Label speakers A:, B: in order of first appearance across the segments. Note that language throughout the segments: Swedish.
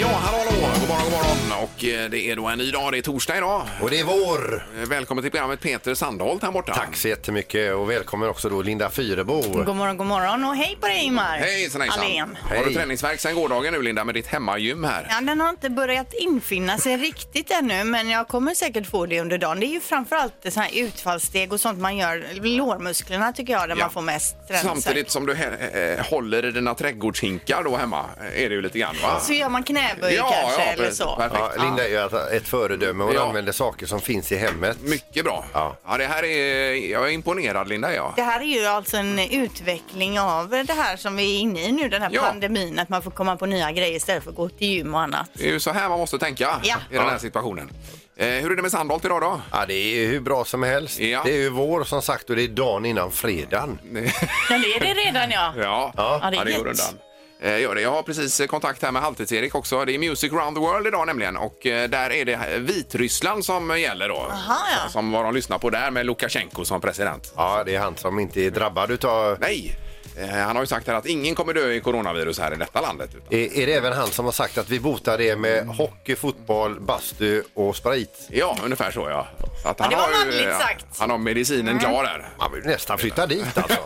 A: Ja, hallå, hallå. God morgon, god morgon. Och eh, det är då en ny dag. Det är torsdag idag.
B: Och det är vår!
A: Eh, Välkommen till programmet Peter Sandholt här borta.
B: Tack så jättemycket och välkommen också då Linda Fyrebo.
C: God morgon, god morgon och hej på dig Ingmar.
A: Hej hejsan.
C: Allén.
A: Har du
B: Hej.
A: träningsvärk sen gårdagen nu Linda med ditt hemmagym här?
C: Ja, den har inte börjat infinna sig riktigt ännu men jag kommer säkert få det under dagen. Det är ju framförallt så här utfallssteg och sånt man gör, lårmusklerna tycker jag, där
A: Ja.
C: man får mest träningsvärk.
A: Samtidigt som du he- eh, håller i dina trädgårdshinkar då hemma eh, är det ju lite grann va?
C: Så gör man knäböj
A: Ja,
C: kanske
A: ja,
C: eller
A: precis.
C: så.
A: Perfekt.
B: Ja, Linda är ju ett- ett föredöme. Hon
A: Ja.
B: använder saker som finns i hemmet.
A: Mycket bra. Ja.
B: Ja.
A: det här är... Jag är imponerad Linda ja.
C: Det här är ju alltså en utveckling av det här som vi är inne i nu, den här
A: Ja.
C: pandemin, att man får komma på nya grejer istället för att gå till gym och annat.
A: Det är ju så här man måste tänka
C: Ja.
A: i den här situationen. Eh, hur är det med Sandholt idag då?
B: Ja, det är ju hur bra som helst.
A: Ja.
B: Det är ju vår som sagt och det är dagen innan fredagen.
C: Ja, det är det redan ja.
A: Ja,
B: Ja.
A: ja, det går undan. Eh, Gör det. Jag har precis eh, kontakt här med Halvtids-Erik också. Det är Music Round the World idag nämligen och eh, där är det eh, Vitryssland som eh, gäller då.
C: Aha, ja.
A: Som vad de lyssnar på där med Lukasjenko som president.
B: Ja, det är han som inte är drabbad utav...
A: Nej! Eh, Han har ju sagt här att ingen kommer dö i coronavirus här i detta landet. Utan...
B: Är, är det även han som har sagt att vi botar det med
A: Mm.
B: hockey, fotboll, bastu och sprit?
A: Ja, ungefär så ja. Så att
C: det var
A: har ju,
C: manligt
A: eh,
C: sagt. Mm.
A: Han har medicinen klar där.
B: Man vill nästan flytta dit alltså.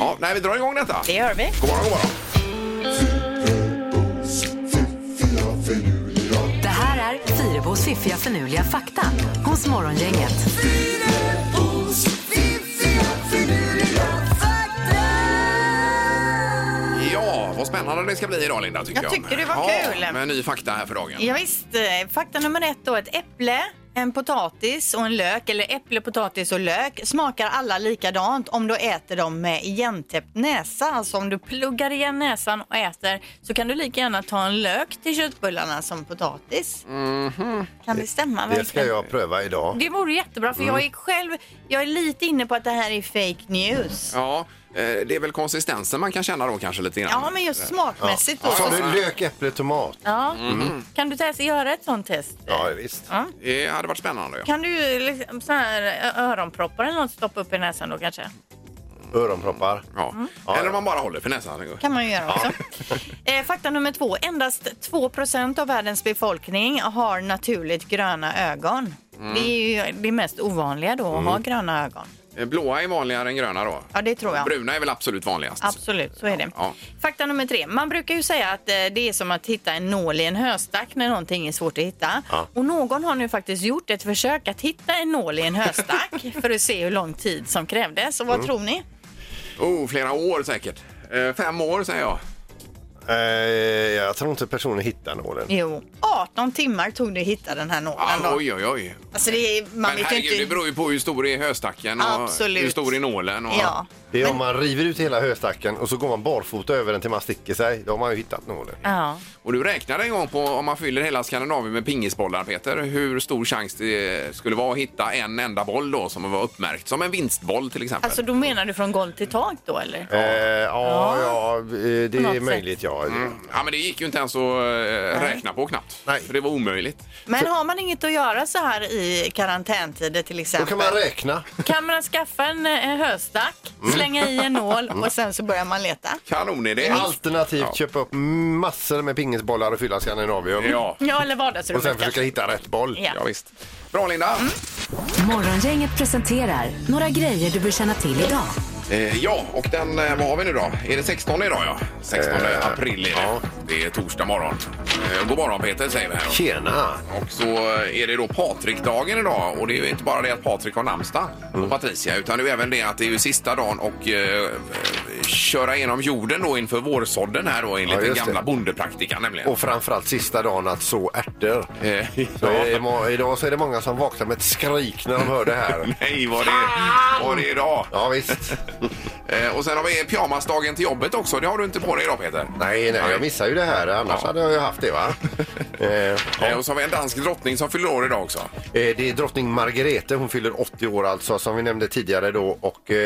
A: Ja, nej, vi drar igång detta.
C: Det gör vi.
A: God morgon, god morgon.
D: Det här är Fyrabos fiffiga förnuliga fakta hos Morgongänget.
A: Ja, vad spännande det ska bli idag Linda tycker jag.
C: Jag tyckte det var
A: ja,
C: kul.
A: Med ny fakta här för dagen.
C: Ja, visst, eh, fakta nummer ett då. Ett äpple, en potatis och en lök, eller äpple, potatis och lök smakar alla likadant om du äter dem med igentäppt näsa. Alltså om du pluggar igen näsan och äter så kan du lika gärna ta en lök till köttbullarna som potatis. Kan det stämma?
B: Det ska
C: verkligen?
B: jag pröva idag.
C: Det vore jättebra för jag är själv, jag är lite inne på att det här är fake news.
A: Ja, eh, det är väl konsistensen man kan känna då kanske lite grann.
C: Ja, men just smakmässigt då.
B: Sa du lök, äpple, tomat?
C: Ja. Kan du testa, göra ett sånt test?
B: Ja, visst.
A: Det hade varit spännande. Ja.
C: Kan du liksom så här ö- öronproppar eller något stoppa upp i näsan då kanske?
B: Öronproppar.
A: Ja. Eller om man bara håller för näsan.
C: Mm. kan man ju göra också. Eh, fakta nummer två. Endast 2 av världens befolkning har naturligt gröna ögon. Det är ju det mest ovanliga då, att ha gröna ögon.
A: Eh, Blåa är vanligare än gröna då.
C: Ja, det tror jag.
A: Bruna är väl absolut vanligast.
C: Absolut, så är det.
A: Ja.
C: Fakta nummer tre. Man brukar ju säga att eh, det är som att hitta en nål i en höstack när någonting är svårt att hitta. Och någon har nu faktiskt gjort ett försök att hitta en nål i en höstack för att se hur lång tid som krävdes. Och vad tror ni?
A: Oh, flera år säkert. Eh, Fem år säger jag.
B: Eh, jag tror inte personen hittar nålen.
C: Jo, 18 timmar tog det att hitta den här nålen.
A: Ah,
C: då.
A: oj, oj, oj.
C: Alltså det är, man
A: Men
C: vet
A: herregud,
C: ju
A: det
C: inte.
A: beror ju på hur stor är höstacken och
C: Absolut.
A: hur stor är nålen. Och...
C: Ja.
B: Det är om man river ut hela höstacken och så går man barfota över den till man sticker sig. Då har man ju hittat nålen.
C: ja.
A: och du räknade en gång på om man fyller hela Skandinavien med pingisbollar, Peter, hur stor chans det skulle vara att hitta en enda boll då som var uppmärkt, som en vinstboll till exempel.
C: Alltså då menar du från golv till tak då eller?
B: Eh, ja, ja, eh, det
C: något
B: är
C: sätt.
B: möjligt. Ja.
A: Ja, men det gick ju inte ens att eh, räkna på knappt.
B: Nej.
A: För det var omöjligt.
C: Men har man inget att göra så här i karantäntider till
B: Då
C: exempel?
B: kan man räkna.
C: Kan man skaffa en eh, höstack,
B: Mm.
C: slänga i en nål och sen så börjar man leta?
A: Kanonidé.
B: Alternativt
A: Ja.
B: köpa upp massor med pingisbollar och fylla Skandinavium.
A: Ja.
C: Ja, eller vardagsrummet
B: Och sen försöka
C: kanske.
B: hitta rätt boll.
C: Ja.
A: ja, visst. Bra, Linda.
D: Morgongänget presenterar några grejer du bör känna till idag.
A: Eh, ja, och den, eh, vad har vi nu då? Är det 16 idag? Ja, 16 april är det.
B: Eh, ja.
A: Det är torsdag morgon. Eh, god morgon, Peter, säger vi här.
B: Tjena!
A: Och så eh, är det då Patrikdagen idag och det är ju inte bara det att Patrik har namnsdag
B: Mm.
A: och Patricia utan det är ju även det att det är ju sista dagen och eh, köra genom jorden då inför vårsådden här då enligt
B: Ja,
A: den
B: just
A: gamla
B: det.
A: bondepraktikan nämligen.
B: Och framförallt sista dagen att så ärtor.
A: Eh,
B: Så är det- Idag så är det många som vaknar med ett skrik när de hör det här.
A: Nej, vad det, vad det är idag.
B: Ja, visst.
A: Eh, och sen har vi pyjamasdagen till jobbet också. Det har du inte på dig idag Peter.
B: Nej, nej, jag missar ju det här. Annars
A: Ja.
B: hade jag ju haft det, va? eh, ja.
A: Eh, och så har vi en dansk drottning som fyller år idag också.
B: Eh, Det är drottning Margrethe, hon fyller 80 år alltså som vi nämnde tidigare då och eh,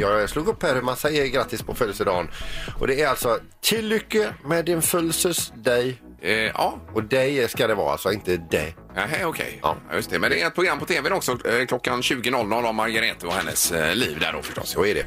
B: jag slog upp här hur man säger grattis på födelsedagen. Och det är alltså till lycka med din födelsedag
A: Eh, ja,
B: och dig ska det vara alltså inte dig.
A: Nähä, okej.
B: Ja.
A: Ja, just det. Men det är ett program på tv också eh, klockan 20.00 om Margareta och hennes eh, liv där då förstås.
B: Så är det.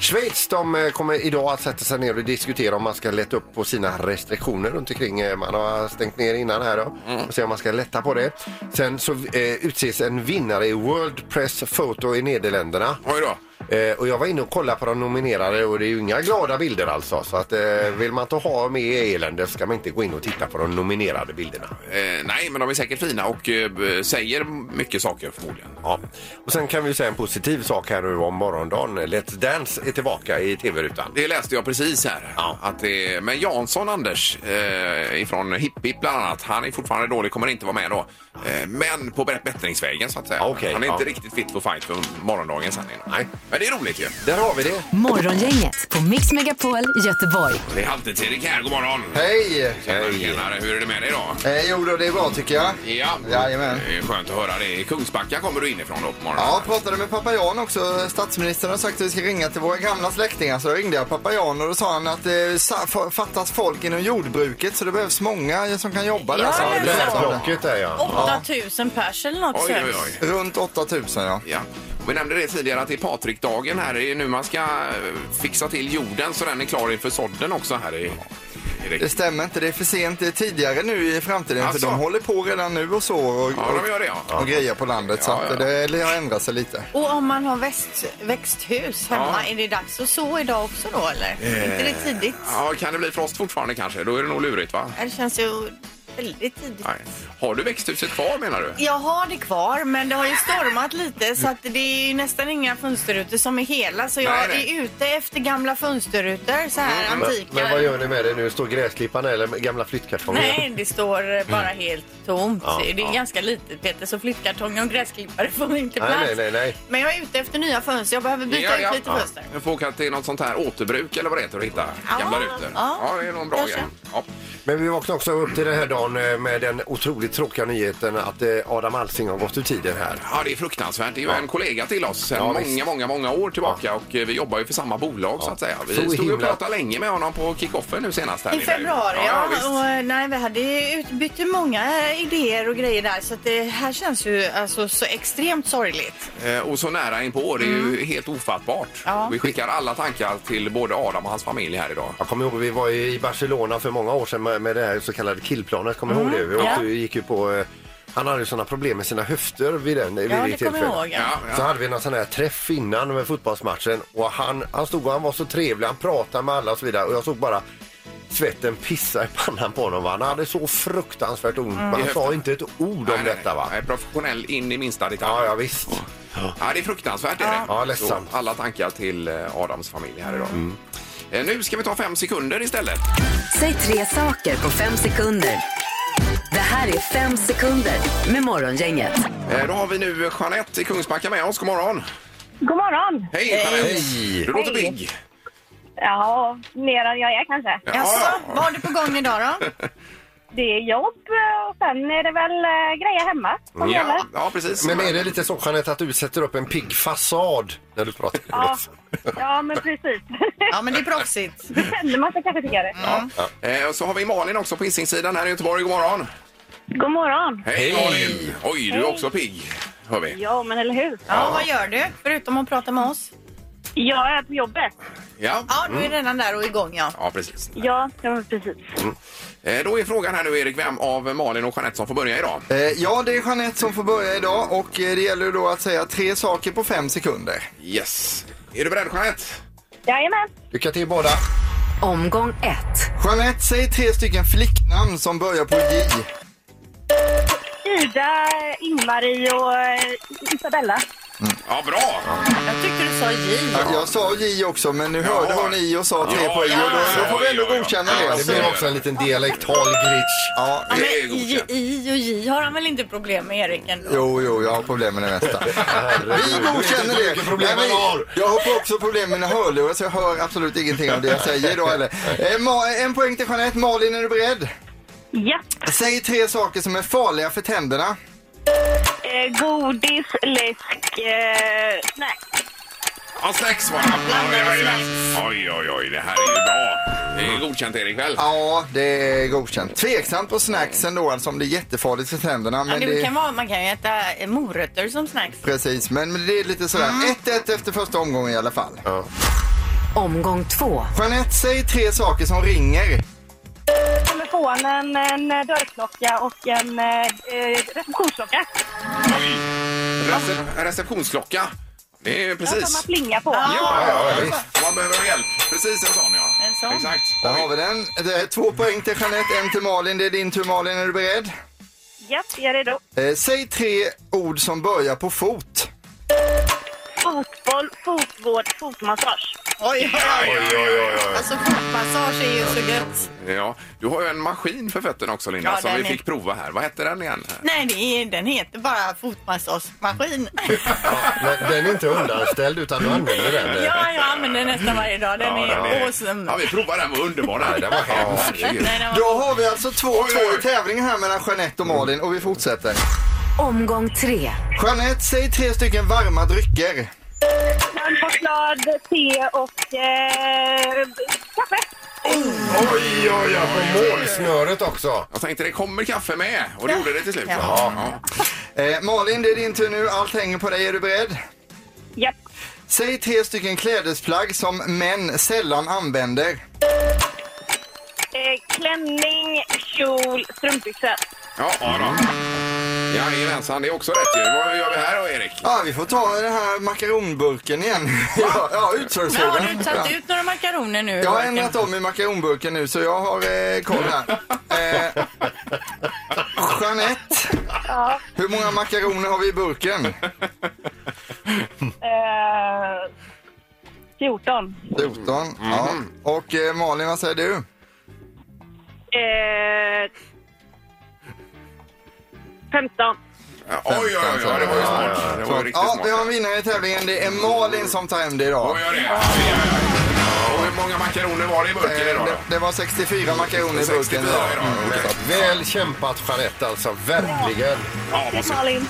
B: Schweiz de eh, kommer idag att sätta sig ner och diskutera om man ska lätta upp på sina restriktioner runt omkring. eh, Man har stängt ner innan här då. Och se om man ska lätta på det. Sen så eh, utses en vinnare i World Press Photo i Nederländerna.
A: Oj då.
B: Eh, och jag var inne och kollade på de nominerade och det är ju inga glada bilder alltså. Så att eh, vill man inte ha med elände ska man inte gå in och titta på de nominerade bilderna.
A: Eh, nej, men de är säkert fina och eh, b- säger mycket saker förmodligen.
B: Ja. Och sen kan vi ju säga en positiv sak här nu om morgondagen. Let's Dance är tillbaka i tv-rutan.
A: Det läste jag precis här.
B: Ja.
A: Att det, men Jansson Anders eh, ifrån Hipp Hipp bland annat, han är fortfarande dålig, kommer inte vara med då. Eh, men på bä- bättringsvägen så att säga.
B: Ja, okej,
A: han är inte
B: ja.
A: riktigt fit for fight för morgondagen sen. innan.
B: Nej.
A: Men det är roligt ju.
B: Där har vi det.
D: Morgongänget på Mix Megapol Göteborg.
A: Det är alltid Erik här, god morgon.
E: Hej!
A: Tjenare, tjenare. Hur är det med dig idag?
E: Eh, jo då, det är bra tycker jag.
A: Ja,
E: Jajamän.
A: det är skönt att höra det. Kungsbacka kommer du inifrån då på morgonen.
E: Ja, pratade med pappa Jan också. Statsministern har sagt att vi ska ringa till våra gamla släktingar. Så då ringde jag pappa Jan och då sa han att det sa- fa- fattas folk inom jordbruket så det behövs många som kan jobba där. Alltså,
C: Ja,
E: sa han.
C: men
E: Det
C: så.
E: sa han.
B: Blocket där ja.
C: 8000 pers eller något
A: Oj, oj,
C: sägs.
A: oj.
E: Runt 8000 ja.
A: Ja. Och Vi nämnde det tidigare att det är Patrikdagen här. Det är nu man ska eh, fixa till jorden så den är klar inför sådden också här i... i det.
E: Det stämmer inte, det är för sent. Det är tidigare nu i framtiden. För
A: Alltså.
E: de håller på redan nu och så och,
A: Ja, de gör det
E: och,
A: ja.
E: och grejer på landet. så
A: Ja, ja.
E: att det har ändrat sig lite.
C: Och om man har växt, växthus hemma,
A: Ja. Eh,
C: är det dags att så idag också då eller? Inte det tidigt?
A: ja. Kan det bli frost fortfarande kanske? Då är det nog lurigt va?
C: Det känns ju väldigt tidigt.
A: Nej. Har du växthuset kvar menar du?
C: Jag har det kvar, men det har ju stormat lite så att det är ju nästan inga fönsterrutor som är hela. Så jag
A: Nej, nej.
C: är ute efter gamla fönsterrutor, så här
B: Mm, Men,
C: antika.
B: men vad gör ni med det nu? Står gräsklipparna eller gamla flyttkartonger?
F: Nej, det står eh, bara helt tomt.
B: Mm. Ja,
F: det är ganska litet Peter, så flyttkartonger och gräsklippare får inte plats.
B: Nej, nej, nej, nej.
C: Men jag är ute efter nya fönster. Jag behöver byta ut lite fönster.
A: Du får åka till något sånt här återbruk eller vad det heter och hitta gamla rutor.
C: ja.
A: Ja, det är nog en bra
C: Kanske.
A: grej. Ja.
B: Men vi vaknade också upp till den här dagen eh, med den otroligt tråkiga nyheten att eh, Adam Alsing har gått ur tiden här.
A: Ja, det är fruktansvärt. Det är ju en kollega till oss sedan
B: Ja,
A: många,
B: visst.
A: många, många år tillbaka och eh, vi jobbar ju för samma bolag så att säga. Vi
B: Så
A: stod ju och
B: himla-
A: pratade länge med honom på kickoffen nu senast. Här
C: I februari, ja.
A: ja, visst.
C: och, eh, nej, vi hade ju utbytt många eh, idéer och grejer där. Så att det här känns ju alltså, så extremt sorgligt.
A: Eh, Och så nära inpå, det är ju helt ofattbart.
C: Mm. Ja.
A: Vi skickar alla tankar till både Adam och hans familj här idag.
B: Jag kommer ihåg vi var i Barcelona för många år sedan med, med det här så kallade killplanet. Kommer du ihåg det? Vi åkte, gick ju på, eh, han hade ju sådana problem med sina höfter vid, den, vid
F: Ja,
B: det
F: det kommer jag ihåg.
B: tillfället.
F: ja.
A: Ja,
B: Så
A: ja.
B: hade vi någon sån här träff innan med fotbollsmatchen och han, han stod och han var så trevlig, han pratade med alla och så vidare och jag såg bara svetten pissa i pannan på honom. Va? Han hade så fruktansvärt ont. men Han sa inte ett ord om
A: Nej, nej,
B: detta va?
A: nej, professionell in i minsta detalj.
B: Ja, ja visst.
A: Ja, det är fruktansvärt. Är det.
B: Ja, ledsamt. Mm.
A: Så Alla tankar till eh, Adams familj här idag. Eh, Nu ska vi ta fem sekunder istället.
D: Säg tre saker på fem sekunder. Det här är fem sekunder med Morgongänget.
A: Eh, Då har vi nu Jeanette i Kungsbacka med oss. God morgon!
G: God morgon!
A: Hej Jeanette!
B: Hej.
A: Du låter
G: Hej.
A: pigg.
G: Ja, mer än jag är kanske.
A: Ja,
C: Jaså,
A: ja.
C: vad har du på gång idag då?
G: Det är jobb och sen är det väl eh, grejer hemma som gäller.
A: Ja, ja, precis.
B: Men är det lite så Jeanette att du sätter upp en pigg fasad när du pratar med
G: Ja.
B: oss?
G: ja, men precis.
C: Ja, men det är proffsigt.
G: Det känner man sig kanske tycker det.
A: Eh, och Så har vi Malin också på Hisingssidan här i Göteborg. God morgon!
G: God morgon!
A: Hej Malin! Oj, du är
G: Hej.
A: också pigg, hör vi.
G: Ja, men eller hur?
C: Ja, vad gör du förutom att prata med oss?
G: Jag är på jobbet.
A: Ja,
C: Ja, du är redan där och igång ja.
A: ja precis.
G: Ja, ja, men precis.
A: Eh, Då är frågan här nu Erik, vem av Malin och Jeanette som får börja idag?
E: Eh, ja, det är Jeanette som får börja idag och eh, det gäller ju då att säga tre saker på fem sekunder.
A: Yes. Är du beredd Jeanette?
G: Jajamän!
B: Lycka till båda!
D: Omgång ett.
E: Jeanette, säg tre stycken flicknamn som börjar på J.
G: Ida, Ingmarie och eh, Isabella.
A: Ja, bra!
F: Jag tyckte du sa J.
E: Ja, Jag sa J också, men nu hörde hon I och sa tre
A: Ja,
E: poäng.
A: ja,
E: och då,
A: ja,
E: då får vi
A: ja,
E: ändå
A: ja.
E: godkänna
A: Ja,
E: det.
B: Det blir också en liten dialektal glitch.
E: Ja,
F: Ja,
A: Det är
F: men J,
A: godkänt.
F: I och J har han väl inte problem med Erik ändå?
E: Jo, jo, jag har problem med det mesta. Vi godkänner det.
B: Vilka problem
E: Nej, men
B: man har.
E: Jag har också problem med mina hörlurar så jag hör absolut ingenting av det jag säger idag eller. Eh, Ma- En poäng till Jeanette. Malin, är du beredd?
G: Ja.
E: Säg tre saker som är farliga för tänderna.
G: Eh, godis, läsk, eh, nej.
A: Ja, snacks var det. Oj, oj, oj, det här är ju bra. Det är godkänt Erik väl?
E: Ja, det är godkänt. Tveksamt på snacksen då, alltså om det är jättefarligt för tänderna.
F: Ja,
E: Men
F: det
E: det...
F: kan vara, man kan ju äta eh, morötter som snacks.
E: Precis, men men det är lite sådär 1-1
F: Mm.
E: efter första omgången i alla fall.
D: Omgång två.
E: Jeanette, säg tre saker som ringer.
G: Telefonen, en eh, dörrklocka och en eh, eh, receptionsklocka.
A: Oj. Rece- receptionsklocka. Det är ju
G: Som man
A: precis.
G: plingar på.
A: Ja, ja, ja, visst. Man behöver hjälp. Precis en sån, ja.
F: En sån.
A: Exakt.
E: Där har vi den. Det är två poäng till Jeanette, en till Malin. Det är din tur Malin, är du beredd?
G: Ja, jag är redo.
E: Eh, säg tre ord som börjar på fot.
G: Fotboll, fotvård, fotmassage.
F: Oj, oj,
A: Oj, oj, oj, oj.
F: Alltså fotmassage är ju så gött.
A: Ja, du har ju en maskin för fötterna också, Linda,
F: Ja,
A: som
F: den
A: vi
F: är-
A: fick prova här. Vad hette den igen?
F: Nej, det är, den heter bara fotmassagemaskin.
B: Men den är inte undanställd utan du använder den.
F: ja, jag använder den nästan varje dag. Den
A: Ja,
F: är
A: den är-
F: awesome.
A: Ja, vi provade den. var underbar. Den, den var hemsk.
F: Nej, den var-
E: Då har vi alltså
A: oj, oj.
E: 2-2 i tävlingen här mellan Jeanette och Malin och vi fortsätter.
D: Omgång tre.
E: Jeanette, säg tre stycken varma drycker.
G: Varm choklad, te och eh, kaffe.
B: Oj, oj, oj. På målsnöret också.
A: Jag tänkte det kommer kaffe med och det gjorde det till slut.
F: Ja.
A: Ja.
E: Eh, Malin, det är din tur nu. Allt hänger på dig. Är du beredd?
G: Ja.
E: Säg tre stycken klädesplagg som män sällan använder.
G: Eh, klänning, kjol, strumpbyxor.
A: Ja, ja då.
E: Mm.
A: Jajamensan, det är också rätt ju. Vad gör vi här då, Erik?
E: Ja, Ah, vi får ta den här makaronburken igen. ja, ja
F: Men har du
E: utförsfrågan.
F: tagit ut några makaroner nu?
E: Jag har
F: Joakim?
E: ändrat om i makaronburken nu så jag har eh, koll här. Eh, Jeanette,
G: Ja.
E: hur många makaroner har vi i burken?
G: Eh, 14.
E: 14.
A: Mm.
E: Ja. Och eh, Malin, vad säger du?
G: Eh, 15.
A: Ja, Oj, oj, oj, oj, det var ju smart. Det var ju riktigt
E: Ja,
A: smart.
E: vi har en vinnare i tävlingen. Det är Malin som tar hem det idag.
A: Oj, oj, oj, oj, oj, oj. Och hur många makaroner var det i burken
E: Eh,
A: idag
E: det,
A: då?
E: det var 64 makaroner i burken. Mm.
A: 64 idag. okej.
B: Väl kämpat Jeanette alltså, verkligen.
A: Ja, vad synd.
G: Malin.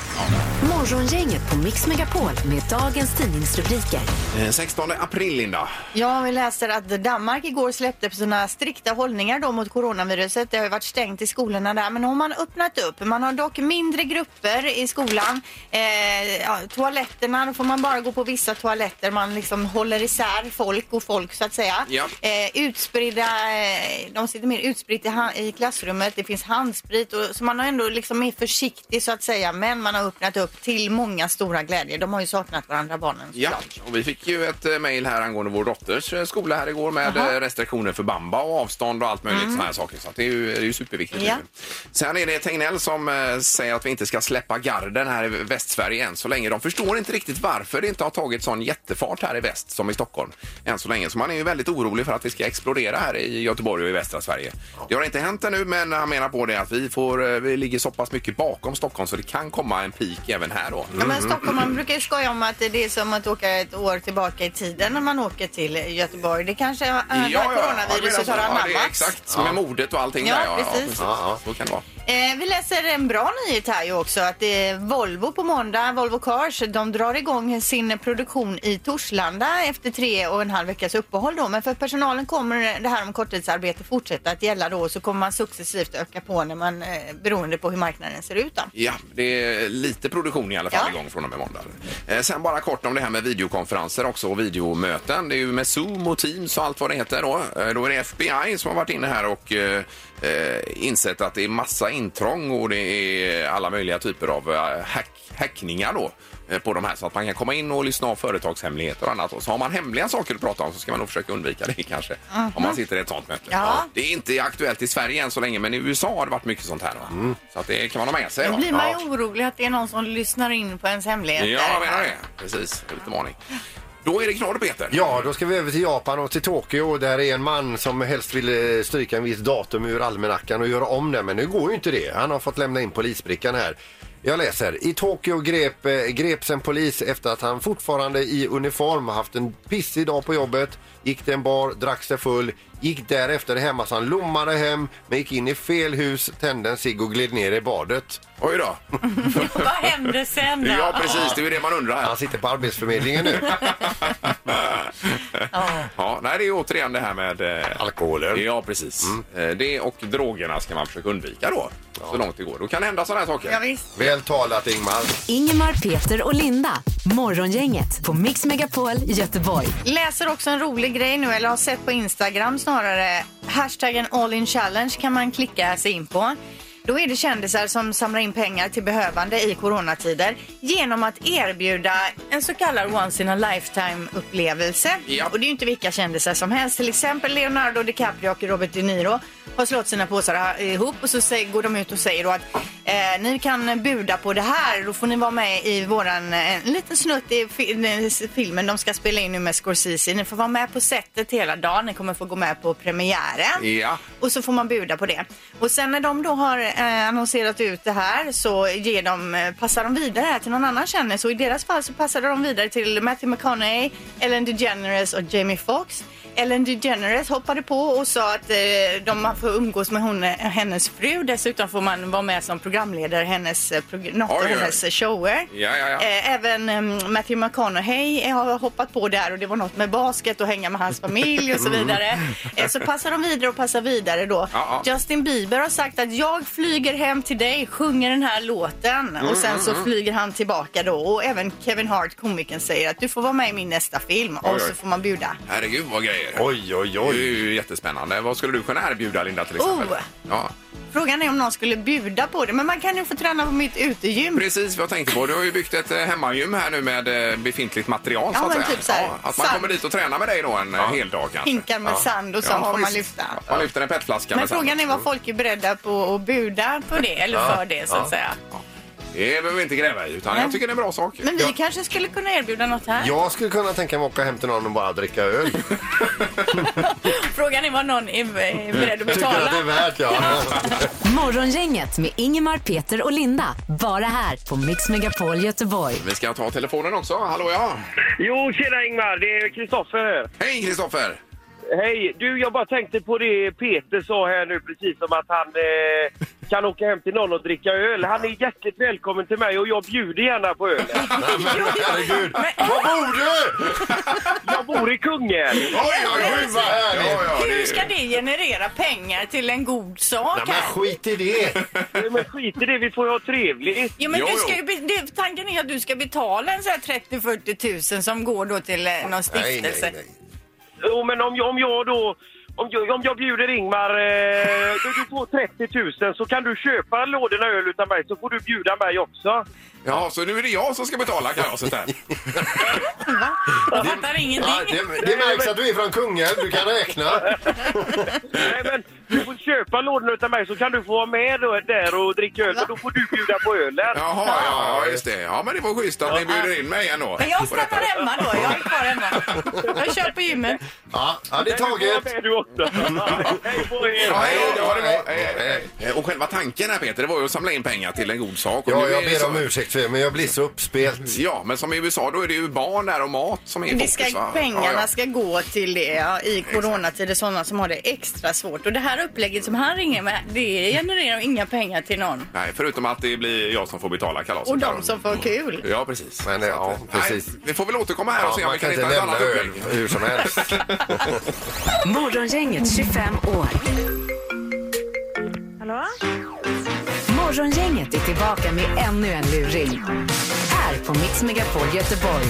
D: Morgongänget på Mix Megapol med dagens tidningsrubriker.
A: Eh, 16 april, Linda.
C: Ja, vi läser att Danmark igår släppte på sina strikta hållningar då mot coronaviruset. Det har ju varit stängt i skolorna där, men har man öppnat upp. Man har dock mindre grupper i skolan. Eh, ja, toaletterna, då får man bara gå på vissa toaletter. Man liksom håller isär folk och folk så att säga.
A: Ja.
C: Eh, utspridda, eh, de sitter mer utspritt i, ha- i klassrummet. Det finns handsprit och, så man har ändå liksom är försiktig så att säga. Men man har öppnat upp till många stora glädjer. De har ju saknat varandra barnen.
A: Ja, och vi fick ju ett eh, mejl här angående vår dotters eh, skola här igår med eh, restriktioner för bamba och avstånd och allt möjligt såna här saker. Så att det är ju, det är ju superviktigt.
C: Ja.
A: nu. Sen är det Tegnell som eh, säger att vi inte ska släppa garden här i Västsverige än så länge. De förstår inte riktigt varför det inte har tagit sån jättefart här i väst som i Stockholm än så länge. Så man är ju väldigt orolig för att det ska explodera här i Göteborg och i västra Sverige. Det har inte hänt ännu men han menar på det att vi, får, eh, vi ligger så pass mycket bakom Stockholm så det kan komma en peak även här då.
C: Ja, men Stockholm, man brukar ju skoja om att det är som att åka ett år tillbaka i tiden när man åker till Göteborg. Det kanske är äh,
A: jag menar
C: coronaviruset
A: så.
C: har
A: alltså, Ja, det är
C: anammats.
A: Exakt, som med modet och allting
C: Ja,
A: där.
C: precis.
A: Ja, så kan det vara.
C: Eh, vi läser en bra nyhet här ju också att det är Volvo på måndag, Volvo Cars, de drar igång sin produktion i Torslanda efter tre och en halv veckas uppehåll då. Men för personalen kommer det här om korttidsarbete fortsätta att gälla då så kommer man successivt öka på när man, eh, beroende på hur marknaden ser ut då.
A: Ja, det är lite produktion i alla fall
C: Ja.
A: igång från och med måndag. Eh, sen bara kort om det här med videokonferenser också och videomöten. Det är ju med Zoom och Teams och allt vad det heter då. Eh, då är det FBI som har varit inne här och eh, eh, insett att det är massa intrång och det är alla möjliga typer av eh, hack, hackningar då. eh, på de här så att man kan komma in och lyssna av företagshemligheter och annat. Och så har man hemliga saker att prata om så ska man nog försöka undvika det kanske om man sitter i ett sånt möte.
C: Ja.
A: Det är inte aktuellt i Sverige än så länge men i USA har det varit mycket sånt här. Va? Så att det kan man ha med sig.
C: Då
A: då.
C: blir man
A: Ja.
C: ju orolig att det är någon som lyssnar in på ens hemligheter.
A: Ja, jag menar det. Precis, lite varning. Då är det knorr, Peter.
B: Ja, då ska vi över till Japan och till Tokyo. Där är en man som helst vill eh, stryka en viss datum ur almanackan och göra om den, men nu går ju inte det. Han har fått lämna in polisbrickan här. Jag läser. I Tokyo grep, eh, greps en polis efter att han fortfarande i uniform haft en pissig dag på jobbet, gick till en bar, drack sig full, gick därefter hemma så han lommade hem, men gick in i fel hus, tände en cigg och gled ner i badet.
A: Oj då.
F: Vad händer sen då?
A: Ja, precis. Det är ju det man
B: Han
A: undrar.
B: sitter på Arbetsförmedlingen nu.
A: Ja, nej, det är ju återigen det här med... eh,
B: Alkoholen. Mm.
A: Ja, precis. Eh, Det och drogerna ska man försöka undvika då, så långt det går. Då kan det hända sådana här saker.
C: Ja, visst.
B: Väl talat Ingmar.
D: Ingemar, Peter och Linda. Morgongänget på Mix Megapol Göteborg.
C: Läser också en rolig grej nu, eller har sett på Instagram snarare. Hashtaggen All In Challenge kan man klicka sig in på. Då är det kändisar som samlar in pengar till behövande i coronatider genom att erbjuda en så kallad once in a lifetime upplevelse.
A: Ja.
C: Och det är ju inte vilka kändisar som helst. Till exempel Leonardo DiCaprio och Robert De Niro har slått sina påsar ihop och så säger, går de ut och säger då att eh, ni kan buda på det här. Då får ni vara med i våran, eh, en liten snutt i fi- eh, filmen de ska spela in nu med Scorsese. Ni får vara med på setet hela dagen. Ni kommer få gå med på premiären.
A: Ja.
C: Och så får man buda på det. Och sen när de då har eh, annonserat ut det här så ger de, eh, passar de vidare här till någon annan kändis. Och i deras fall så passade de vidare till Matthew McConaughey, Ellen DeGeneres och Jamie Foxx. Ellen DeGeneres hoppade på och sa att eh, de man får umgås med hon, eh, hennes fru. Dessutom får man vara med som programledare i hennes, eh, prog- något av
A: Oj, oj.
C: hennes shower.
A: Ja, ja, ja.
C: Eh, Även eh, Matthew McConaughey har hoppat på där och det var något med basket och hänga med hans familj och så
A: Mm.
C: vidare. Eh, Så passar de vidare och passar vidare då.
A: Ja, ja.
C: Justin Bieber har sagt att jag flyger hem till dig, sjunger den här låten
A: Mm,
C: och sen så flyger han tillbaka då. Och även Kevin Hart, komikern, säger att du får vara med i min nästa film
A: Oj,
C: och så
A: oj.
C: får man bjuda.
A: Herregud, vad grejer.
B: Oj, oj,
A: Det är
B: oj.
A: ju jättespännande. Vad skulle du kunna erbjuda, Linda, till exempel?
C: Oh.
A: Ja.
C: Frågan är om någon skulle bjuda på det, men man kan ju få träna på mitt utegym.
A: Precis vad jag tänkte på. Du har ju byggt ett eh, hemmagym här nu med eh, befintligt material.
C: Ja,
A: så att
C: men
A: säga.
C: typ så här,
A: Ja, att man
C: sand.
A: kommer dit och tränar med dig då en ja. hel dag kanske.
C: Hinkar med sand och sånt får man
A: visst.
C: lyfta.
A: Man lyfter en petflaska
C: Men
A: med sand.
C: frågan är vad folk är beredda på att buda på det, eller för det så att säga.
A: Det behöver vi inte gräva i, utan jag tycker det är en bra sak.
C: Men vi kanske skulle kunna erbjuda något här.
B: Jag skulle kunna tänka mig att åka hem till någon och bara dricka öl.
F: Frågan är vad någon är är beredd att
B: Mm. Tycker att det
F: betala.
B: är värt ja.
D: Morgongänget med Ingemar, Peter och Linda. Bara här på Mix Megapol Göteborg.
A: Vi ska ta telefonen också. Hallå ja!
G: Jo, tjena Ingmar. Det är Kristoffer här.
A: Hej Kristoffer!
G: Hej! Du, jag bara tänkte på det Peter sa här nu precis om att han eh, kan åka hem till någon och dricka öl. Han är hjärtligt välkommen till mig och jag bjuder gärna på öl.
B: Nej, men herregud. Vad bor du?
G: Jag bor i Kungälv.
B: Oj, oj, oj, vad
A: Ja,
B: härligt.
A: ja, det-
F: Hur ska det generera pengar till en god sak?
B: Nej, men
F: här?
B: skit i det.
G: Nej, Men skit i det, vi får ju ha trevligt.
F: Jo, men
A: Jo,
F: du ska
A: jo.
F: ju be- det, tanken är att du ska betala en så här 30-40 tusen som går då till eh, någon
B: Nej, nej,
F: stiftelse.
B: nej.
G: Jo, men om jag, om jag då... Om jag, om jag bjuder Ingmar, eh, då du får 30 000 så kan du köpa lådorna öl utan mig så får du bjuda mig också.
A: Ja, så nu är det jag som ska betala kalaset här.
F: Jag fattar ingenting.
B: Ja, det, det märks att du är från Kungälv. Du kan räkna.
G: Nej, men du får köpa lådorna utan mig så kan du få vara med då, där och dricka öl och då får du bjuda på ölen.
A: Jaha, ja, ja, just det. Ja, men det var schysst att ni bjuder in mig ändå.
F: Men jag stannar hemma då. Jag är kvar hemma. Jag kör på gymmet.
B: Ja, ja det är
G: Nej, du får vara
B: taget.
G: med du också. Hej på er!
A: Mm. Ja, hej då, det var-
B: Nej,
A: hej, hej, hej. Och själva tanken här Peter, det var ju att samla in pengar till en god sak. Och nu
B: Ja,
A: är
B: jag
A: det
B: ber
A: så-
B: om ursäkt för det, men jag blir så uppspelt.
A: Ja, men som i USA då är det ju barn där och mat som är i
C: Det
A: fokus.
C: ska,
A: va?
C: pengarna
A: Ja, ja.
C: ska gå till det ja, i coronatider, sådana som har det extra svårt. Och det här upplägget som han ringer med, det genererar inga pengar till någon.
A: Nej, förutom att det blir jag som får betala kalaset.
C: Och
A: där.
C: de som får kul.
A: Ja, precis.
B: Men,
A: Så
B: ja,
A: att,
B: precis.
A: Nej, vi får väl återkomma här och
B: Ja,
A: se om
B: man
A: vi
B: kan
A: kan hitta
B: inte
A: ett
B: lämna
A: annat
B: öl
A: upplägg.
B: hur som helst.
D: Morgongänget 25 år.
G: Hallå?
D: Morgongänget är tillbaka med ännu en luring. Här på Mix Megapol Göteborg.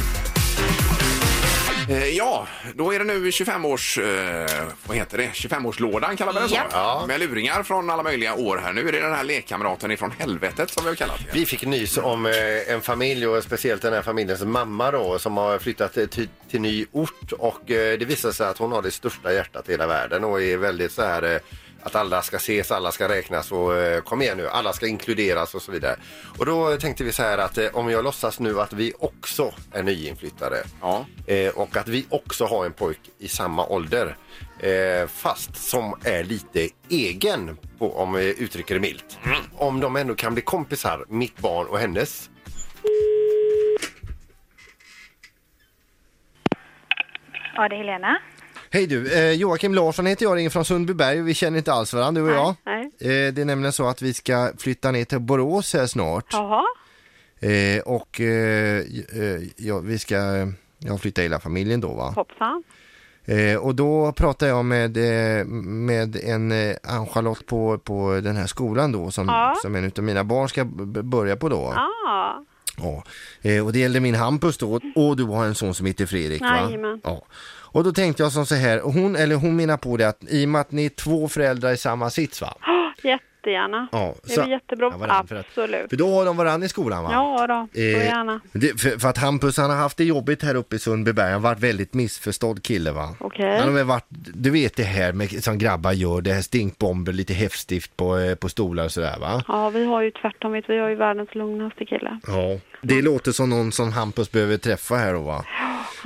A: Eh, Ja, då är det nu 25-års... Eh, vad heter det? 25-årslådan kallar vi den så?
C: Japp.
A: Med luringar från alla möjliga år här. Nu är det den här lekkamraten ifrån helvetet som vi har kallat det.
F: Vi fick nys om eh, en familj och speciellt den här familjens mamma då som har flyttat eh, till, till ny ort och eh, det visar sig att hon har det största hjärtat i hela världen och är väldigt så här eh, att alla ska ses, alla ska räknas och eh, kom igen nu, alla ska inkluderas och så vidare. Och då tänkte vi så här att eh, om jag låtsas nu att vi också är nyinflyttade
A: Ja.
F: eh, och att vi också har en pojk i samma ålder eh, fast som är lite egen, på, om vi uttrycker det milt. Om de ändå kan bli kompisar, mitt barn och hennes.
H: Ja, det är Helena.
F: Hej du, eh, Joakim Larsson heter jag, ringer från Sundbyberg och vi känner inte alls varandra du och jag.
H: Nej.
F: Eh, det är nämligen så att vi ska flytta ner till Borås här snart
H: Jaha.
F: eh, och eh, eh, ja, vi ska eh, ja, flytta hela familjen då va.
H: Hoppsan.
F: Eh, och då pratade jag med, eh, med en eh, Ann-Charlotte på, på den här skolan då som,
H: Ja.
F: som en utav mina barn ska b- börja på då.
H: Ja.
F: Ja. Eh, och det gällde min Hampus då och du har en son som heter Fredrik va?
H: Jajamän.
F: Ja. Och då tänkte jag som så här, och hon, eller hon menar på det att i och med att ni är två föräldrar i samma sits va?
H: Oh, jättegärna.
F: Ja,
H: det är väl jättebra.
F: Jag var rädd för att-
H: Absolut.
F: För då har de varandra i skolan va?
H: Ja då, så
F: Eh,
H: gärna.
F: Det, för, för att Hampus han har haft det jobbigt här uppe i Sundbyberg, han har varit väldigt missförstådd kille va.
H: Okej.
F: Han har väl varit, du vet det här med, som grabbar gör, det här stinkbomber, lite häftstift på, eh, på stolar och sådär va.
H: Ja, vi har ju tvärtom. vet du, Vi har ju världens lugnaste kille.
F: Ja. Det låter som någon som Hampus behöver träffa här då va?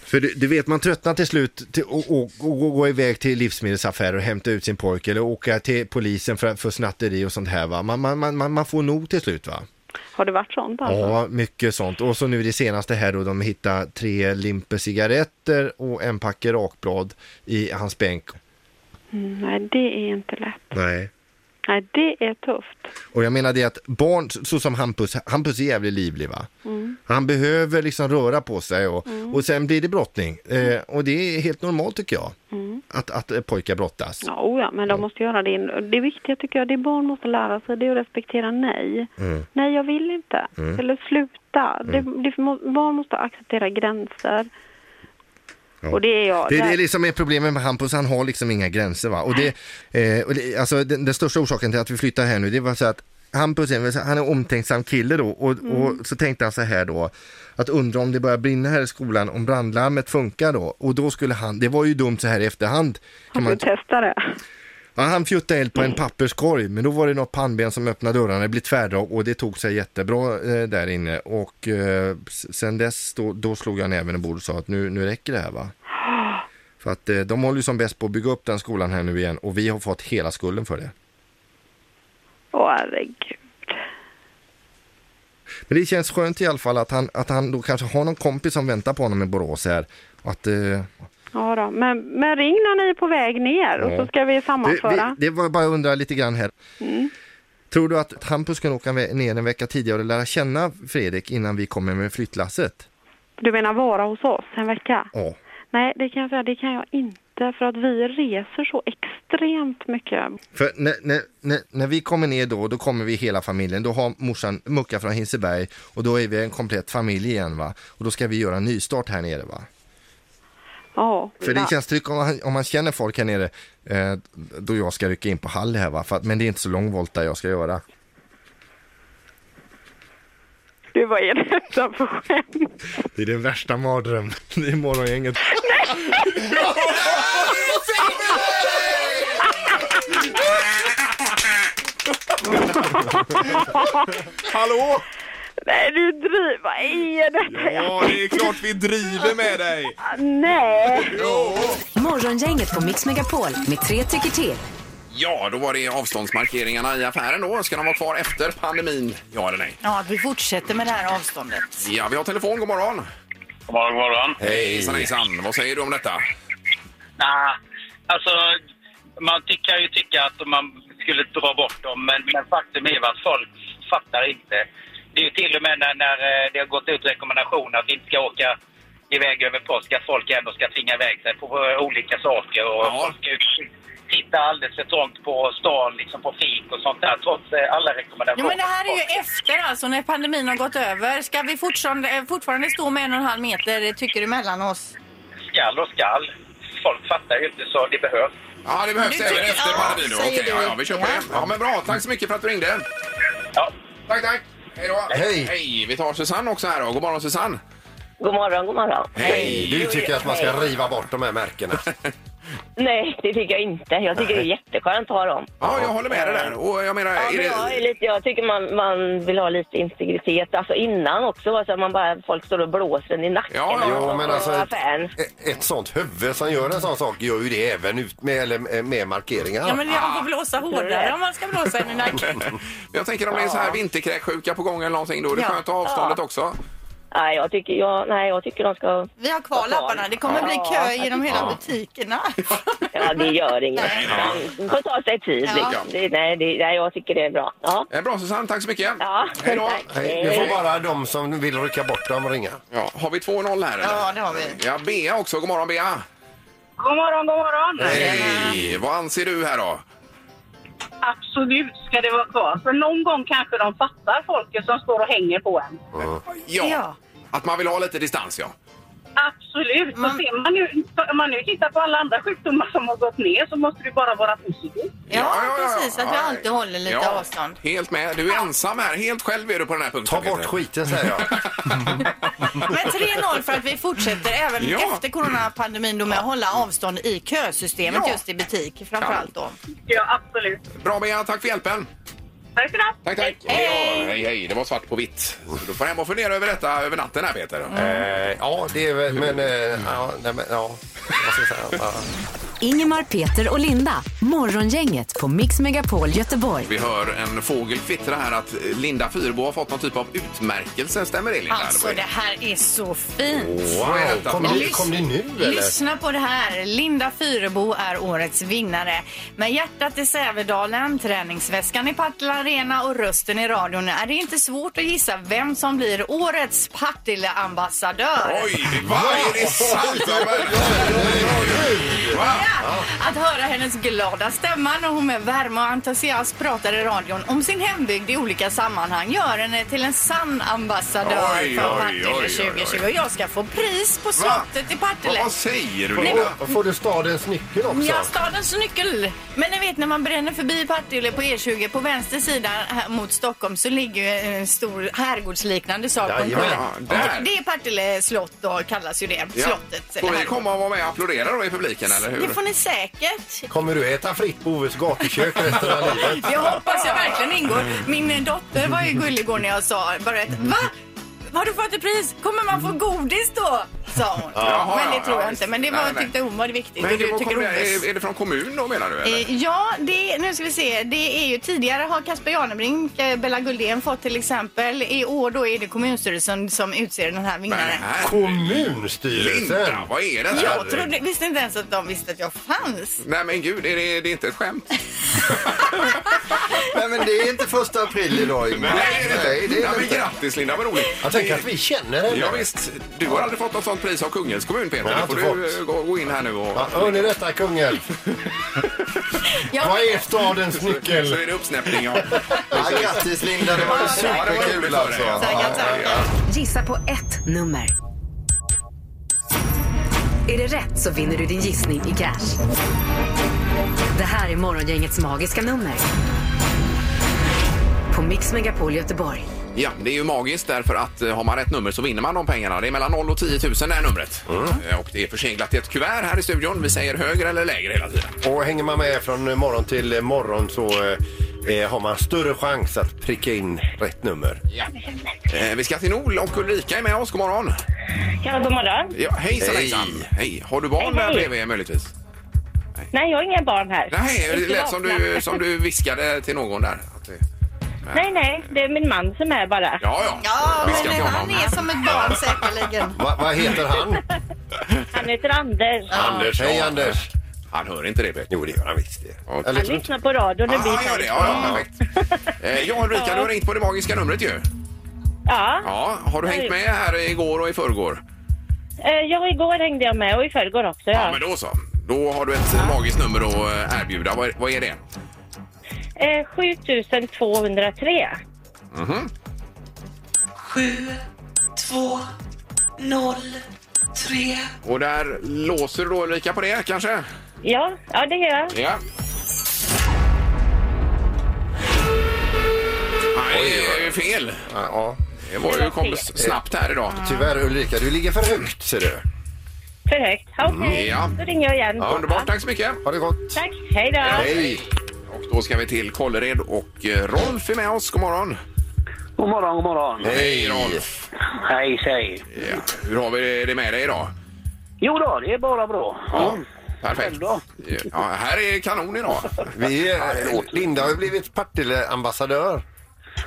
F: För du, du vet man tröttnar till slut till, och, och, och, och gå iväg till livsmedelsaffär och hämta ut sin pojke eller åka till polisen för, för snatteri och sånt här va. Man, man, man, man- man får nog till slut va.
H: Har det varit sånt alltså?
F: Ja, mycket sånt. Och så nu det senaste här då, de hittar tre limper cigaretter och en packe rakblad i hans bänk.
H: Mm, nej, det är inte lätt.
F: Nej.
H: Nej, det är tufft.
F: Och jag menar det att barn, så så som Hampus, Hampus är jävligt livlig va?
H: Mm.
F: Han behöver liksom röra på sig och, och sen blir det brottning. Eh, och det är helt normalt tycker jag,
H: Mm.
F: att, att eh, pojkar brottas.
H: Ja, oh ja, men
F: Mm.
H: de måste göra det. Det viktiga tycker jag, det barn måste lära sig, det är att respektera nej.
F: Mm.
H: Nej, jag vill inte.
F: Mm.
H: Eller sluta. Det, det, må- barn måste acceptera gränser.
F: Ja.
H: Och det är jag.
F: Det är
H: Där-
F: det är liksom är problemet med Hampus, han har liksom inga gränser va. Och det, eh, och det, alltså, den, den största orsaken till att vi flyttar här nu, det var så att Hampus är en- han är en omtänksam kille då och,
H: Mm.
F: och så tänkte han så här då att undra om det börjar brinna här i skolan, om brandlarmet funkar då. Och då skulle han, det var ju dumt så här i efterhand. Kan
H: Han
F: man,
H: får testa det.
F: ja, han fjuttade eld på en papperskorg men då var det något pannben som öppnade dörrarna, det blev tvärdrag och det tog sig jättebra eh, där inne. Och eh, s- sen dess då, då slog jag näven i bordet och sa att nu, nu räcker det här va. För att eh, de håller ju som bäst på att bygga upp den skolan här nu igen och vi har fått hela skulden för det.
H: Åh, herregud.
F: Men det känns skönt i alla fall att han, att han då kanske har någon kompis som väntar på honom i Borås här. Och att, eh, det,
H: Ja då. Men, men ring när ni är på väg ner och
F: Ja.
H: så ska vi
F: vi,
H: sammanföra.
F: det var bara att undra lite grann här.
H: Mm.
F: Tror du att Hampus kan åka ve- ner en vecka tidigare och lära känna Fredrik innan vi kommer med flyttlasset?
H: Du menar vara hos oss en vecka?
F: Ja.
H: Nej, det kan jag säga, det kan jag inte för att vi reser så extremt mycket.
F: För när, när, när, när vi kommer ner då, då kommer vi hela familjen. Då har morsan Mucka från Hinseberg och då är vi en komplett familj igen va. Och då ska vi göra en nystart här nere va.
H: Ja.
F: För det känns tryggt om man, om man känner folk här nere eh, då jag ska rycka in på Hall här va. För att, men det är inte så lång volta jag ska göra.
H: Du, vad är detta för skämt?
F: Det är den värsta mardrömmen. Det är morgongänget.
A: Hallå!
H: Nej, du driver. Vad är detta?
A: Ja, det är klart vi driver med dig!
H: Nej.
D: Morgongänget på Mix Megapol med tre tycker till.
A: Ja, då var det avståndsmarkeringarna i affären då. Ska de vara kvar efter pandemin? Ja eller nej?
C: Ja, att vi fortsätter med det här avståndet.
A: Ja, vi har telefon. God morgon!
I: God morgon, god morgon.
A: Hejsan hejsan! Vad säger du om detta?
I: Nah, alltså, man ty- kan ju tycka att man skulle dra bort dem, men, men faktum är ju att folk fattar inte. Det är ju till och med när, när eh, det har gått ut rekommendationer att vi inte ska åka iväg över påsk, att folk ändå ska tvinga iväg sig på eh, olika saker. Och folk ska ju sitta alldeles för trångt på stan, liksom på fik och sånt där, trots eh, alla
C: Jo,
I: rekommendationer.
C: men det här är ju efter alltså när pandemin har gått över. Ska vi fortfarande, eh, fortfarande stå med en och en halv meter, eh, tycker du, mellan oss?
I: skall och skall. Folk fattar ju inte så det behövs.
A: Ja, det behövs
I: Nu
A: även
I: tycker-
A: efter
I: ja,
A: pandemin. då.
I: säger
A: Okej, ja,
I: du.
A: ja, vi kör på det. Ja, men bra. Tack så mycket för att du ringde.
I: Ja.
A: Tack, tack. Hej då.
B: Hej.
A: Hej. Vi tar Susanne också här. då. God morgon, Susanne.
J: God morgon, god morgon.
B: Hej! Du tycker att man ska riva bort de här märkena.
J: Nej, det tycker jag inte. Jag tycker det är jätteskönt att ha dem.
A: Ja, jag håller med dig där. Och jag menar,
J: Ja,
A: är
J: men
A: det...
J: jag, är lite, jag tycker man, man vill ha lite integritet. Alltså innan också, alltså man bara, folk står och blåser en i nacken.
B: Jo,
J: och-
B: men
J: och
B: alltså ett,
J: affären.
B: ett- ett sånt huvud som gör en sån sak gör ju det även ut med, eller, med markeringar.
C: Ja, men jag får blåsa hårdare om man ska blåsa en i nacken.
A: Men jag tänker om det är så här vinterkräksjuka på gång eller någonting, då är det
C: Ja.
A: skönt att ha avståndet också.
J: Nej, jag tycker, jag, nej, jag tycker de ska...
K: Vi har kvar lapparna. Det kommer bli kö genom hela butikerna.
J: Ja, det gör inget. Man får ta sig tid.
K: Ja.
J: Liksom. Det, nej, det, nej, jag tycker det är bra. Ja.
A: Eh, Bra Susanne, tack så mycket.
J: Ja,
A: Hej då.
J: tack.
B: Hej. Nu får bara de som vill rycka bort dem ringa.
A: Ja, har vi 2-0 här eller?
B: Ja,
K: det har vi.
A: Ja, Bea också. God morgon Bea.
L: God morgon, god morgon.
A: Hej! Vad anser du här då?
L: Absolut ska det vara kvar. För någon gång kanske de fattar folket som står och hänger på en.
A: Ja. Att man vill ha lite distans ja.
L: Absolut. Så ser man ju, om man nu tittar på alla andra sjukdomar som har gått ner så måste det bara vara positivt.
K: Ja, precis. Att vi alltid håller lite
A: Ja,
K: avstånd.
A: Helt med. Du är ensam här. Helt själv är du på den här punkten. Ta bort
B: skiten säger jag.
K: Men 3-0 för att vi fortsätter även
A: Ja.
K: efter coronapandemin då med att hålla avstånd i kösystemet
A: Ja.
K: just i butik framförallt då.
L: Ja, absolut.
A: Bra Bea, tack för hjälpen.
L: Tack för det.
A: Tack, tack. Hej, hej, hej. Det var svart på vitt. Så du får hem och fundera över detta över natten här Peter.
B: Eh, ja, det är väl... Men, eh, ja, nej, men, ja. Vad ska jag säga? Ja.
D: Ingemar, Peter och Linda. Morgongänget på Mix Megapol Göteborg.
A: Vi hör en fågel kvittra här att Linda Fyrbo har fått någon typ av utmärkelse. Stämmer det Linda?
C: Alltså det här är så fint.
A: Wow.
B: Kom det- kom det nu, eller?
C: Lyssna på det här. Linda Fyrebo är årets vinnare. Med hjärtat i Sävedalen, träningsväskan i Partille Arena och rösten i radion är det inte svårt att gissa vem som blir årets Partille-ambassadör.
A: Oj, vad är det sant? Ja, men-
C: Att höra hennes glada stämma när hon med värme och entusiasm pratar i radion om sin hembygd i olika sammanhang gör henne till en sann ambassadör
A: Oj,
C: för
A: oj,
C: Partille
A: oj, oj, oj.
C: 2020. Och jag ska få pris på slottet i Partille.
A: Vad säger du
C: Nej,
A: Linda?
B: Får, får du stadens nyckel också?
C: Ja, stadens nyckel. Men ni vet när man bränner förbi Partille på E20 på vänster sida här mot Stockholm så ligger ju en stor herrgårdsliknande sak på en
A: Jajamän.
C: kulle.
A: Ja, där.
C: Och Det är Partille slott då, kallas ju det. Slottet.
A: Får
C: eller
A: vi komma och vara med och applådera då i publiken eller hur?
C: Det får ni säkert.
B: Kommer du äta fritt på Oves gatukök resten av livet?
C: Jag hoppas jag verkligen ingår. Min eh, dotter var ju gullig igår när jag sa bara ett va? Har du fått ett pris? Kommer man få godis då? Sa hon.
A: Jaha,
C: men det
A: ja,
C: tror
A: ja,
C: jag inte. Men det var,
A: Nej, nej.
C: tyckte hon var viktigt.
A: Men
C: och
A: det
C: du
A: var eh,
C: tycker
A: kommun,
C: hummus.
A: är, är det från kommun då menar du? Eller?
C: Eh, Ja, det, nu ska vi se. Det är ju tidigare har Kasper Janebrink, eh, Bella Guldén fått till exempel. I år då är det kommunstyrelsen som utser den här vinnaren.
B: Kommunstyrelsen!
A: Linda, vad är det här?
C: Jag trodde, visste inte ens att de visste att jag fanns.
A: Nej men gud, är det, det är inte ett skämt?
E: Nej, men det är inte första april idag, Ingmar.
A: Nej, det är det.
E: det
A: ja,
E: är det
A: men
E: inte.
A: grattis Linda, vad roligt.
B: Jag tänker att vi känner henne.
A: Ja, visst, du har aldrig fått något sånt pris av Kungälvs kommun Peter.
B: Nej,
A: Nu
B: jag
A: får
B: har inte
A: du eh, gå, gå in här nu och...
B: Ja, hör ni detta, kungen? Vad är stadens nyckel?
A: Så är det uppsnäppning ja.
E: Ja, grattis, Linda. Det var ju
A: Ja, det var roligt
E: superkul
A: för dig,
E: alltså.
A: ja.
E: Tackar, tackar.
D: Gissa på ett nummer. Är det rätt så vinner du din gissning i cash. Det här är Morgongängets magiska nummer. På Mix Megapol Göteborg.
A: Ja, det är ju magiskt därför att eh, har man rätt nummer så vinner man de pengarna. Det är mellan 0 och 10 000 det här numret.
B: Mm.
A: Eh, Och det är förseglat i ett kuvert här i studion. Vi säger högre eller lägre hela tiden.
B: Och hänger man med från eh, morgon till eh, morgon så eh, eh, har man större chans att pricka in rätt nummer.
A: Ja. Eh, Vi ska till Nol och Ulrika är med oss. God morgon!
J: Ja, god morgon.
A: Ja, hejsan,
B: Hej.
A: hejsan! Hej! Har du barn
J: Hej,
A: där
J: hej.
A: bredvid möjligtvis?
J: Nej, jag har inga barn här.
A: Nej, det
J: Inte
A: lät som
J: vakna.
A: du, som du viskade till någon där. Att det-
J: Nej, nej, det är min man som är bara.
A: Ja, ja.
K: Ja,
A: Viska
K: men
A: till honom.
K: han är som ett barn säkerligen.
B: Va, vad heter han?
J: Han heter Anders.
B: Anders. Hej,
A: ja.
B: Anders.
A: Han hör inte det, Peter.
B: Jo, det gör han visst. Det.
A: Ja.
J: Han lyssnar på radion. Det
A: Ah,
J: blir
A: han gör det. Ja, ja, perfekt. Eh, Ja, Ulrika, du har ringt på det magiska numret ju.
J: Ja.
A: Ja, har du hängt med här igår och i förrgår?
J: Eh, Ja, igår hängde jag med och i förrgår också.
A: Ja,
J: Ja.
A: men då så. Då har du ett magiskt nummer att eh, erbjuda. Vad är, vad är det?
J: Eh, 7203.
A: Mhm.
M: 7, 2, 0,
A: tre. Och där låser du då Ulrika på det kanske?
J: Ja, ja det gör jag.
A: Ja. Nej, det är ju fel.
B: Ja.
A: Det var ju kom snabbt här idag.
B: Tyvärr Ulrika, du ligger för högt ser du.
J: För högt. Ja, Okej,
A: Mm, ja.
J: då ringer jag igen.
A: Ja, underbart, tack så mycket. Ha det gott.
J: Tack, hej då.
A: Hej. Och då ska vi till Kållered och eh, Rolf är med oss. God morgon.
N: God morgon, god morgon.
A: Hej Rolf.
N: Hej, hej.
A: Ja. Hur har vi det med dig idag?
N: Jo då, det är bara bra.
A: Ja. Perfekt. Ja, här är kanon idag.
B: Vi, Linda har ju blivit Partille-ambassadör.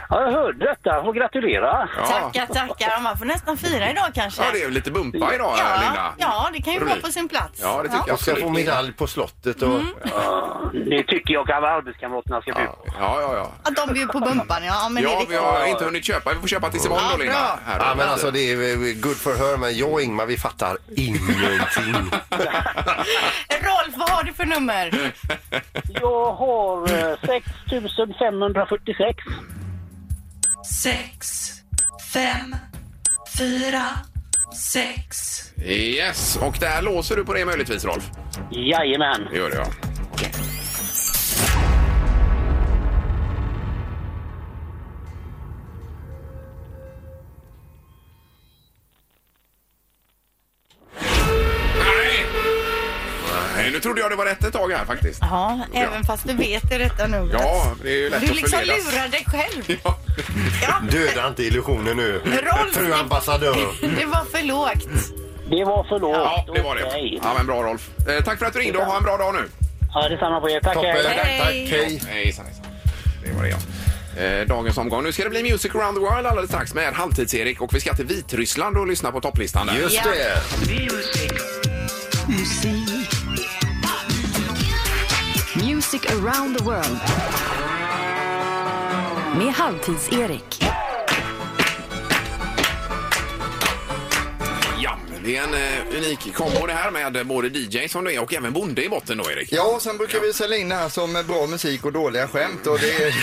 N: Ja, jag hörde detta och gratulerar.
C: Tackar, tackar. Man får nästan fira idag kanske.
A: Ja, det är lite bumpa idag,
C: ja,
A: Linda.
C: Ja, det kan ju
A: Roligt.
C: vara på sin plats.
B: Och ska få medalj på slottet och...
N: Ja, det tycker jag att arbetskamraterna ska bjuda på.
A: Ja, ja, ja.
C: Att de bjuder på bumpan, ja. Men det är
A: Ja, vi
C: riktigt
A: har
C: bra.
A: inte hunnit köpa. Vi får köpa tills imorgon
C: Ja,
A: då, Linda.
C: bra.
A: Här då.
B: Ja, men alltså det är good for her, men jag och Ingmar vi fattar ingenting.
C: Rolf, vad har du för nummer?
N: Jag har eh, 6546.
O: 6, 5, 4, 6.
A: Yes, och där låser du på det möjligtvis, Rolf?
N: Jajamän.
A: Det gör det, ja. Nej! Nej, Nu trodde jag det var rätt ett tag här faktiskt.
C: Ja, även fast du vet det rätta numret.
A: Ja, det är ju lätt
C: Du
A: att
C: liksom
A: förledas.
C: lurar dig själv.
B: Döda inte illusionen nu.
C: Rolf!
B: Fru ambassadör.
C: Det var för lågt.
N: Det var för lågt.
A: Ja, det var det.
N: Okej.
A: Ja, men bra Rolf. Eh, tack för att du ringde och ha en bra dag nu.
N: Ja, detsamma på er. Tack,
A: Toppen.
N: hej.
A: Hej. Hejsan, hejsan. Det var det ja. Eh, Dagens omgång. Nu ska det bli Music around the world alldeles strax med Halvtids-Erik och vi ska till Vitryssland och lyssna på topplistan där.
B: Just det.
D: Musik. Music around the world. Med Halvtids-Erik.
A: Ja, det är en eh, unik kombo det här med både DJ som du är och även bonde i botten då Erik.
E: Ja, och sen brukar vi sälja in det här som bra musik och dåliga skämt och det,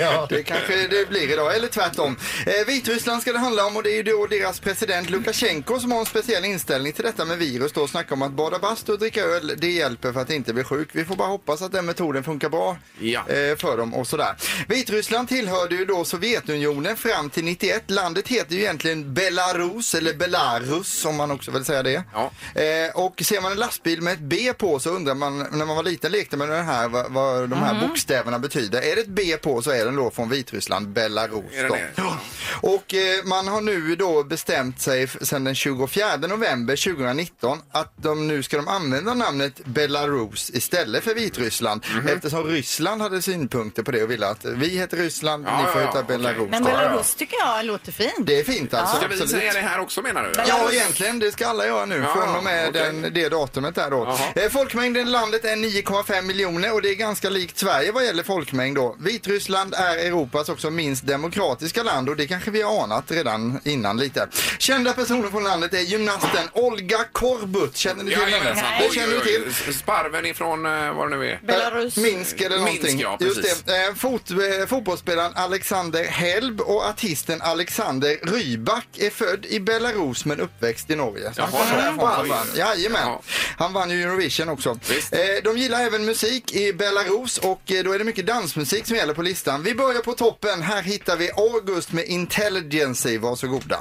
E: ja, det kanske det blir idag, eller tvärtom. Eh, Vitryssland ska det handla om och det är ju då deras president Lukasjenko som har en speciell inställning till detta med virus då, snacka om att bada bastu och dricka öl, det hjälper för att inte bli sjuk. Vi får bara hoppas att den metoden funkar bra eh, för dem och sådär. Vitryssland tillhörde ju då Sovjetunionen fram till 91. Landet heter ju egentligen Belarus, eller Belarus om man också vill säga det. Eh, och ser man en lastbil med ett B på så undrar man, när man var liten lekte man med den här, vad, vad de här
B: Mhm.
E: bokstäverna betyder. Är det ett B på så är den då från Vitryssland, Belarus.
B: Är den
E: Då.
B: det?
E: Ja. Och eh, man har nu då bestämt sig f- sedan den 24 november 2019 att de nu ska de använda namnet Belarus istället för Vitryssland
A: Mhm.
E: eftersom Ryssland hade synpunkter på det och ville att vi heter Ryssland,
A: Ja,
E: ni får
A: ja,
E: heta
A: ja, okej.
E: Belarus.
C: Men
E: då.
C: Belarus tycker jag låter fint.
E: Det är fint alltså.
A: Ska vi
E: absolut.
A: säga det här också menar du?
E: Ja, egentligen. Det ska alla göra nu
A: Ja,
E: från och med
A: okej.
E: den, det datumet där då.
A: Jaha.
E: Eh, Folkmängden i landet är 9,5 miljoner och det är ganska likt Sverige vad gäller folkmängd då. Vitryssland är Europas också minst demokratiska land och det kanske vi har anat redan innan lite. Kända personer från landet är gymnasten Olga Korbut. Känner ni till henne?
A: Jajamensan.
E: Det känner ni till.
A: Oj, oj, oj. Sparven ifrån eh, vad det nu är.
E: Belarus. Eh, Minsk eller någonting.
A: Minsk, ja, precis.
E: Just det. Eh, Fot, eh, fotbollsspelaren Alexander Helb och artisten Alexander Rybak är född i Belarus men uppväxt i Norge. Så han
B: Jaha,
E: kommer därifrån
B: oj.
E: från början. Jajamän. Han vann ju Eurovision också. Eh, de gillar även musik i Belarus och eh, då är det mycket dansmusik som gäller på listan. Vi börjar på toppen. Här hittar vi August med Intelligency. Varsågoda.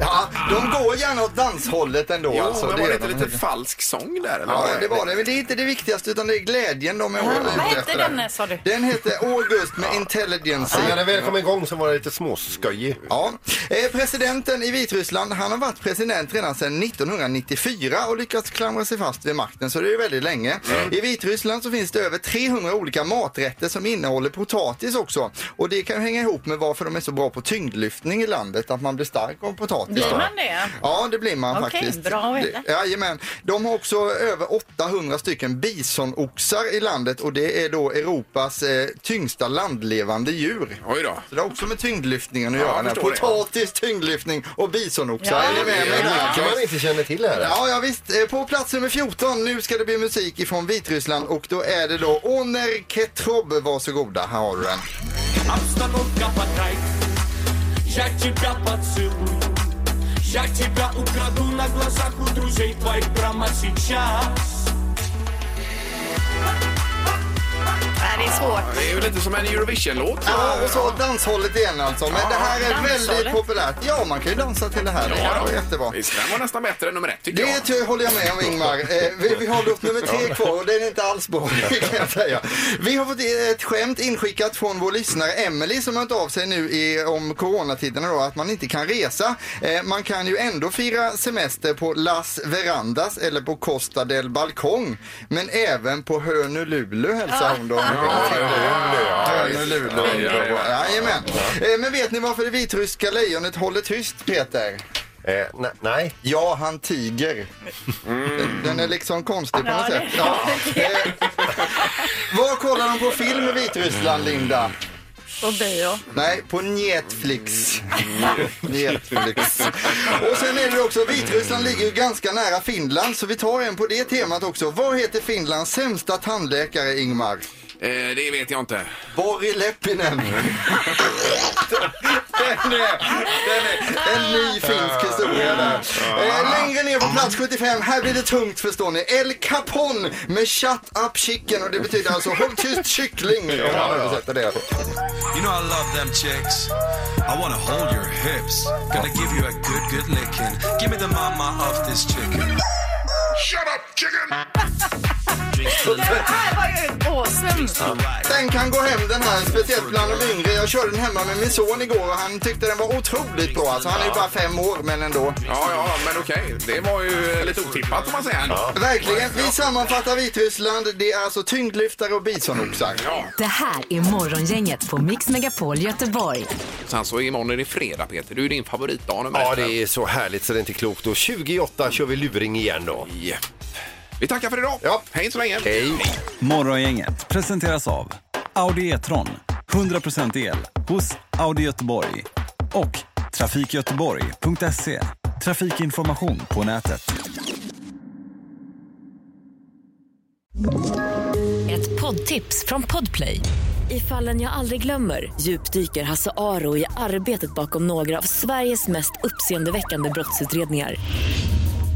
E: Ja, de går gärna åt danshållet ändå.
A: Jo,
E: alltså,
A: men var det
E: gör
A: inte
E: de.
A: lite falsk sång där? Eller?
E: Ja, det var det. Men det är inte det viktigaste utan det är glädjen de är
C: Vad
E: ute
C: hette
E: efter.
C: den sa du?
E: Den hette August med Intelligence.
B: Ja, när den väl kom igång så var det lite småskojig.
E: Ja. Eh, presidenten i Vitryssland, han har varit president redan sedan 1994 och lyckats klamra sig fast vid makten, så det är ju väldigt länge. I Vitryssland så finns det över 300 olika maträtter som innehåller potatis också. Och det kan ju hänga ihop med varför de är så bra på tyngdlyftning i landet, att man blir stark av potatis.
C: Blir
E: då.
C: man det?
E: Ja, det blir man
C: Okej,
E: faktiskt.
C: bra att veta.
E: Det- Jajamän. De har också över 800 stycken bisonoxar i landet och det är då Europas eh, tyngsta landlevande djur.
A: Oj då.
E: Så det har också med tyngdlyftningen att
B: Ja,
E: göra.
B: jag
E: den här.
B: förstår det.
E: Potatis, tyngdlyftning och bisonoxar.
B: Ja.
E: Är ni med mig
B: Det är
E: där?
B: mycket man inte känner till här.
E: Ja, ja, visst. Eh, På plats nummer 14, nu ska det bli musik ifrån Vitryssland och då är det då Oner Ketrob. Varsågoda, här har du den.
P: Обстановка подрайв Я тебя поцелую Я тебя украду на глазах у друзей твоих прямо сейчас
C: äh, Det är svårt.
A: Det är ju lite som en Eurovision-låt.
E: Ja, och så danshållet igen alltså. Men
A: Ja,
E: det här är
A: danshållet.
E: väldigt populärt. Ja, man kan ju dansa till det här.
A: Ja,
E: Det var
A: ja.
E: jättebra.
A: Visst, den var nästan bättre än nummer ett tycker
E: Det tror jag håller jag med om Ingmar. Eh, vi, vi har låt nummer tre kvar och den är inte alls bra kan jag säga. Vi har fått ett skämt inskickat från vår lyssnare Emily som har hört av sig nu i, om coronatiderna då att man inte kan resa. Eh, man kan ju ändå fira semester på Las Verandas eller på Costa del Balcong. Men även på Hönululu hälsar hon då. Hönululu.
B: Ja, ja, ja.
E: Jajamän. Eh, Men vet ni varför det vitryska lejonet håller tyst Peter?
B: Eh,
E: nej. Ja, han tiger. Den, den är liksom konstig på
B: Ja,
E: något
B: det-
E: sätt. Ja. Eh, Vad kollar de på film i Vitryssland, Linda?
C: På bio.
E: Nej, på Netflix. Netflix. Och sen är det också, Vitryssland ligger ju ganska nära Finland så vi tar en på det temat också. Vad heter Finlands sämsta tandläkare, Ingmar?
A: Eh, det vet jag inte.
E: Borri Leppinen. den, är, den är en ny finsk historia där. Eh, längre ner på plats 75, här blir det tungt förstår ni. El Capone med Shut Up Chicken och det betyder alltså håll tyst kyckling. om man översätter det.
Q: You know I love them chicks. I wanna hold your hips. Gonna give you a good, good licking. Give me the mama of this chicken.
A: Shut up chicken!
C: Den här var ju awesome.
E: Den kan gå hem den här, speciellt bland de yngre. Jag körde den hemma med min son igår och han tyckte den var otroligt bra. Alltså, han är ju bara fem år men ändå.
A: Ja, ja, men okej. Det var ju eh, lite otippat om man säger. ändå.
E: Verkligen. Vi sammanfattar Vitryssland. Det är alltså tyngdlyftare och bisonoxar.
D: Det här är Morgongänget på Mix Megapol Göteborg.
A: Sen så imorgon är det fredag Peter. Du är din favoritdag nummer
B: Ja,
A: ett.
B: det är så härligt så det är inte klokt. Och 28 kör vi luring igen då.
A: Vi tackar för idag. Ja. Hej så länge. Hej.
R: Morgongänget presenteras av Audi E-tron. 100% el hos Audi Göteborg. Och trafikgöteborg.se. Trafikinformation på nätet.
S: Ett poddtips från Podplay. I fallen jag aldrig glömmer djupdyker Hasse Aro i arbetet bakom några av Sveriges mest uppseendeväckande brottsutredningar.